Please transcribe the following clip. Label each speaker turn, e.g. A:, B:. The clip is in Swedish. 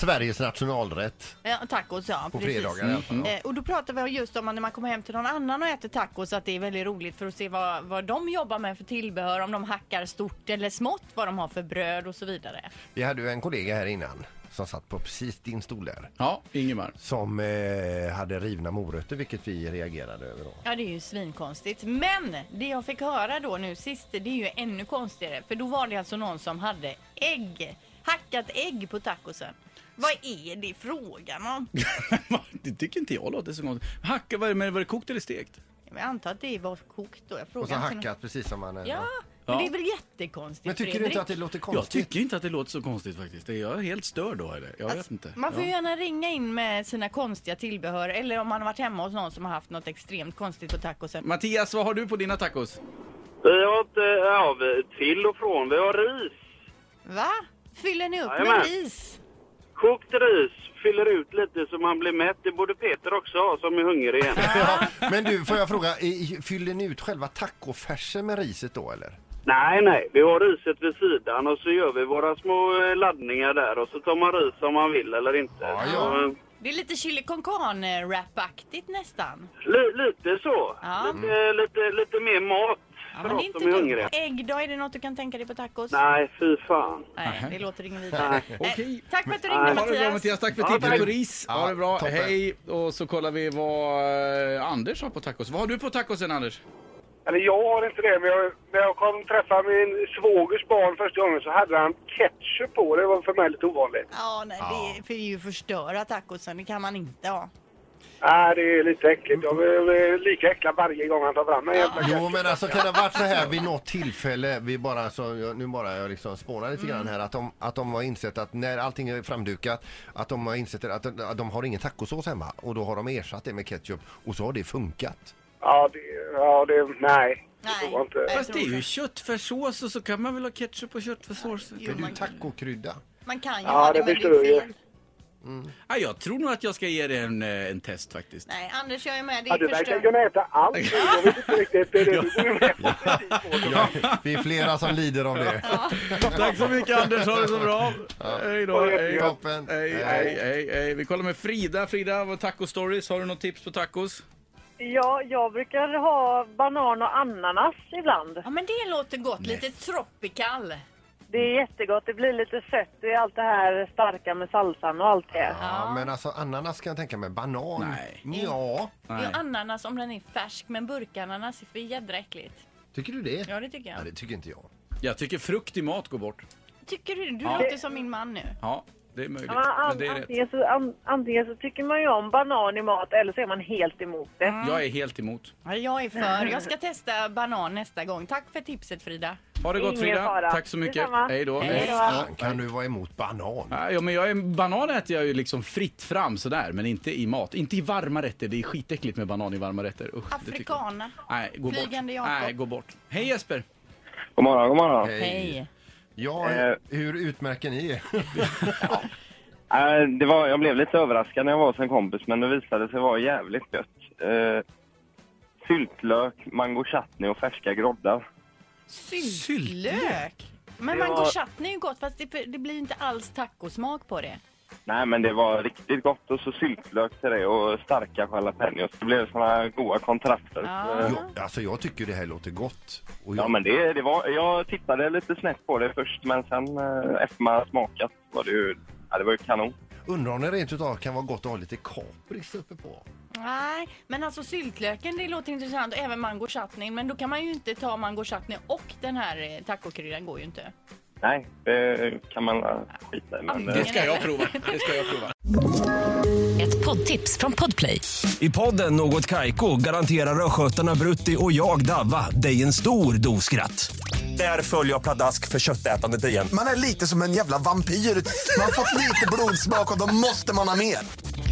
A: Sveriges nationalrätt
B: Ja, tacos ja.
A: på
B: precis.
A: fredagar i alla fall.
B: Eh, och då pratar vi just om att när man kommer hem till någon annan och äter tacos att det är väldigt roligt för att se vad, vad de jobbar med för tillbehör, om de hackar stort eller smått, vad de har för bröd och så vidare.
A: Vi hade ju en kollega här innan som satt på precis din stol där.
C: Ja, Ingemar.
A: Som eh, hade rivna morötter vilket vi reagerade över då.
B: Ja, det är ju svinkonstigt. Men det jag fick höra då nu sist, det är ju ännu konstigare. För då var det alltså någon som hade ägg, hackat ägg på tacosen. Vad är det frågan om?
C: det tycker inte jag låter så konstigt. Hacka, vad är det, men var det kokt eller stekt?
B: Jag antar att det var kokt då. Jag
A: Och så
B: frågade inte någon-
A: hackat precis som man... eh,
B: Ja,
C: Ja.
B: men det är väl jättekonstigt
A: Men tycker du
B: Fredrik?
A: inte att det låter
C: Jag
A: konstigt?
C: tycker inte att det låter så konstigt faktiskt. Jag är helt störd då eller? Jag vet
B: Alltså,
C: inte.
B: Man får ju
C: ja.
B: gärna ringa in med sina konstiga tillbehör eller om man har varit hemma hos någon som har haft något extremt konstigt på tacosen.
C: Mattias, vad har du på dina tacos?
D: Vi har inte, ja, vi, till och från. Vi har ris.
B: Va? Fyller ni upp
D: Jajamän.
B: med ris?
D: Kokt ris. Fyller ut lite så man blir mätt. Det borde Peter också ha som är hungrig igen.
A: Ja, men du, får jag fråga, i- fyller ni ut själva tacofärsen med riset då eller?
D: nej, nej. Vi har riset vid sidan och så gör vi våra små eh, laddningar där och så tar man ris om man vill eller inte.
A: Ja, ja.
D: Så, eh,
B: Det är lite chili con carne-wrap-aktigt nästan.
D: li, lite så.
B: Ja.
D: Lite, lite, lite mer mat
B: Ja,
D: för
B: men det
D: oss
B: är
D: som är
B: inte
D: hungriga.
B: dumt. Ägg då? Är det något du kan tänka dig på tacos?
D: Nej, fy fan.
B: Nej, det låter inget vidare. Nej.
C: Okej.
B: Tack för att du ringde
C: Ha det bra
B: Mattias.
C: Mattias, tack för
D: Ja,
C: tipset
D: tack.
C: på ris. Ha
A: Ja,
C: det bra,
A: toppen.
C: hej. Och så kollar vi vad eh, Anders har på tacos. Vad har du på tacosen Anders?
E: Eller jag har inte det, men jag, när jag kom träffa min svågers barn första gången så hade han ketchup på. Det var för mig lite ovanligt.
B: Ja, nej, det är för det är ju förstöra tacosen. Det kan man inte ha.
E: Nej, det är lite äckligt. Jag är jag är lika äcklad varje gång han tar fram en jävla
A: Jo men alltså kan det ha varit så här vid något tillfälle, vi bara, så, jag- nu bara jag liksom spånar lite grann här, att de, att de har insett att när allting är framdukat, att de har insett att de, att de har ingen tacosås hemma och då har de ersatt det med ketchup och så har det funkat.
E: Ja, det... Ja, det nej. Det
B: Nej.
E: går inte.
B: Nej. Jag
C: Fast det är
B: tror
C: ju
B: det.
C: köttfärssås och så kan man väl ha ketchup och köttfärssås?
A: Är
B: Jo,
A: du
B: man,
A: tacokrydda?
B: man kan ju
E: Ja,
B: ha det,
E: det
B: men det
E: förstår
B: är
E: jag.
B: fel.
C: Ja, jag tror nog att jag ska ge det en, eh, en test faktiskt.
B: Nej, Anders jag är med. Det
E: Ja,
B: är
E: du verkar
B: förstört.
E: kunna äta allt. Jag vet inte riktigt. Det är det du går med på.
A: Ja, vi är flera som lider av det.
C: Tack så mycket Anders, ha det så bra. Hej då, hej.
A: Toppen.
C: Hej, hej, hej, hej. Vi kollar med Frida. Frida, vad taco stories? Har du något tips på tacos?
F: Ja, jag brukar ha banan och ananas ibland.
B: Ja, men det låter gott. Lite tropical.
F: Det är jättegott. Det blir lite sött i allt det här starka med salsan och allt det.
A: Ja, men alltså ananas kan jag tänka mig, banan?
C: Nej.
A: Ja,
B: Det är ananas om den är färsk, men burkananas är för jädra äckligt.
A: tycker du det?
B: Ja, det tycker jag.
A: Nej, det tycker inte jag.
C: Jag tycker frukt i mat går bort.
B: Tycker du? Du
C: Ja.
B: låter som min man nu.
C: Ja, det är möjligt.
F: Ja, an-
C: Men det är rätt.
F: antingen, så, an, antingen så tycker man ju om banan i mat eller så är man helt emot det.
C: Jag är helt emot.
B: Ja, jag är för. Jag ska testa banan nästa gång. Tack för tipset Frida.
C: Ha det gott
F: Ingen
C: Frida.
F: fara.
C: Tack så mycket.
F: Detsamma.
C: Hej då.
B: Hej då.
A: Fan, kan du vara emot banan?
C: Ja, ja, men jag är, banan äter jag ju liksom fritt fram sådär, men inte i mat. Inte i varma rätter. Det är skitäckligt med banan i varma rätter. Usch, det tycker jag.
B: Afrikana.
C: Nej, gå bort.
B: Flygande Jakob.
C: Nej, gå bort. Hej Jesper!
D: God morgon, god morgon.
B: Hej.
A: Ja,
D: Eh.
A: hur utmärker ni er?
D: Nej, Äh, det var, jag blev lite överraskad när jag var hos en kompis, men det visade sig vara jävligt gött. Eh, syltlök, mango chutney och färska groddar.
B: Syltlök. Men
D: Det
B: mango
D: var-
B: chutney är ju gott fast det, det blir ju inte alls tacosmak på det.
D: Nej, men det var riktigt gott. Och så syltlök till det och starka jalapenos. Det blev såna goda kontraster.
B: Ja.
D: Eh,
A: Jag, alltså jag tycker det här låter gott. Och jag,
D: Ja, men det, det var, jag tittade lite snett på det först, men sen eh, efter man smakat var det ju, ja, det var ju kanon.
A: Undrar om det rent utav kan vara gott att ha lite kapris uppe på.
B: Nej, men alltså syltlöken det låter intressant och även mango chutney. Men då kan man ju inte ta mango chutney och den här eh, tacokryddan går ju inte.
D: Nej, det kan man eh, skita i. Men, eh,
C: Det ska jag prova. Det ska jag prova.
G: Ett poddtips från Podplay.
H: I podden Något Kaiko garanterar östgötarna Brutti och jag, Davva, dig en stor dos skratt. Där följer jag pladask för köttätandet igen.
I: Man är lite som en jävla vampyr. Man har fått lite blodsmak och då måste man ha mer.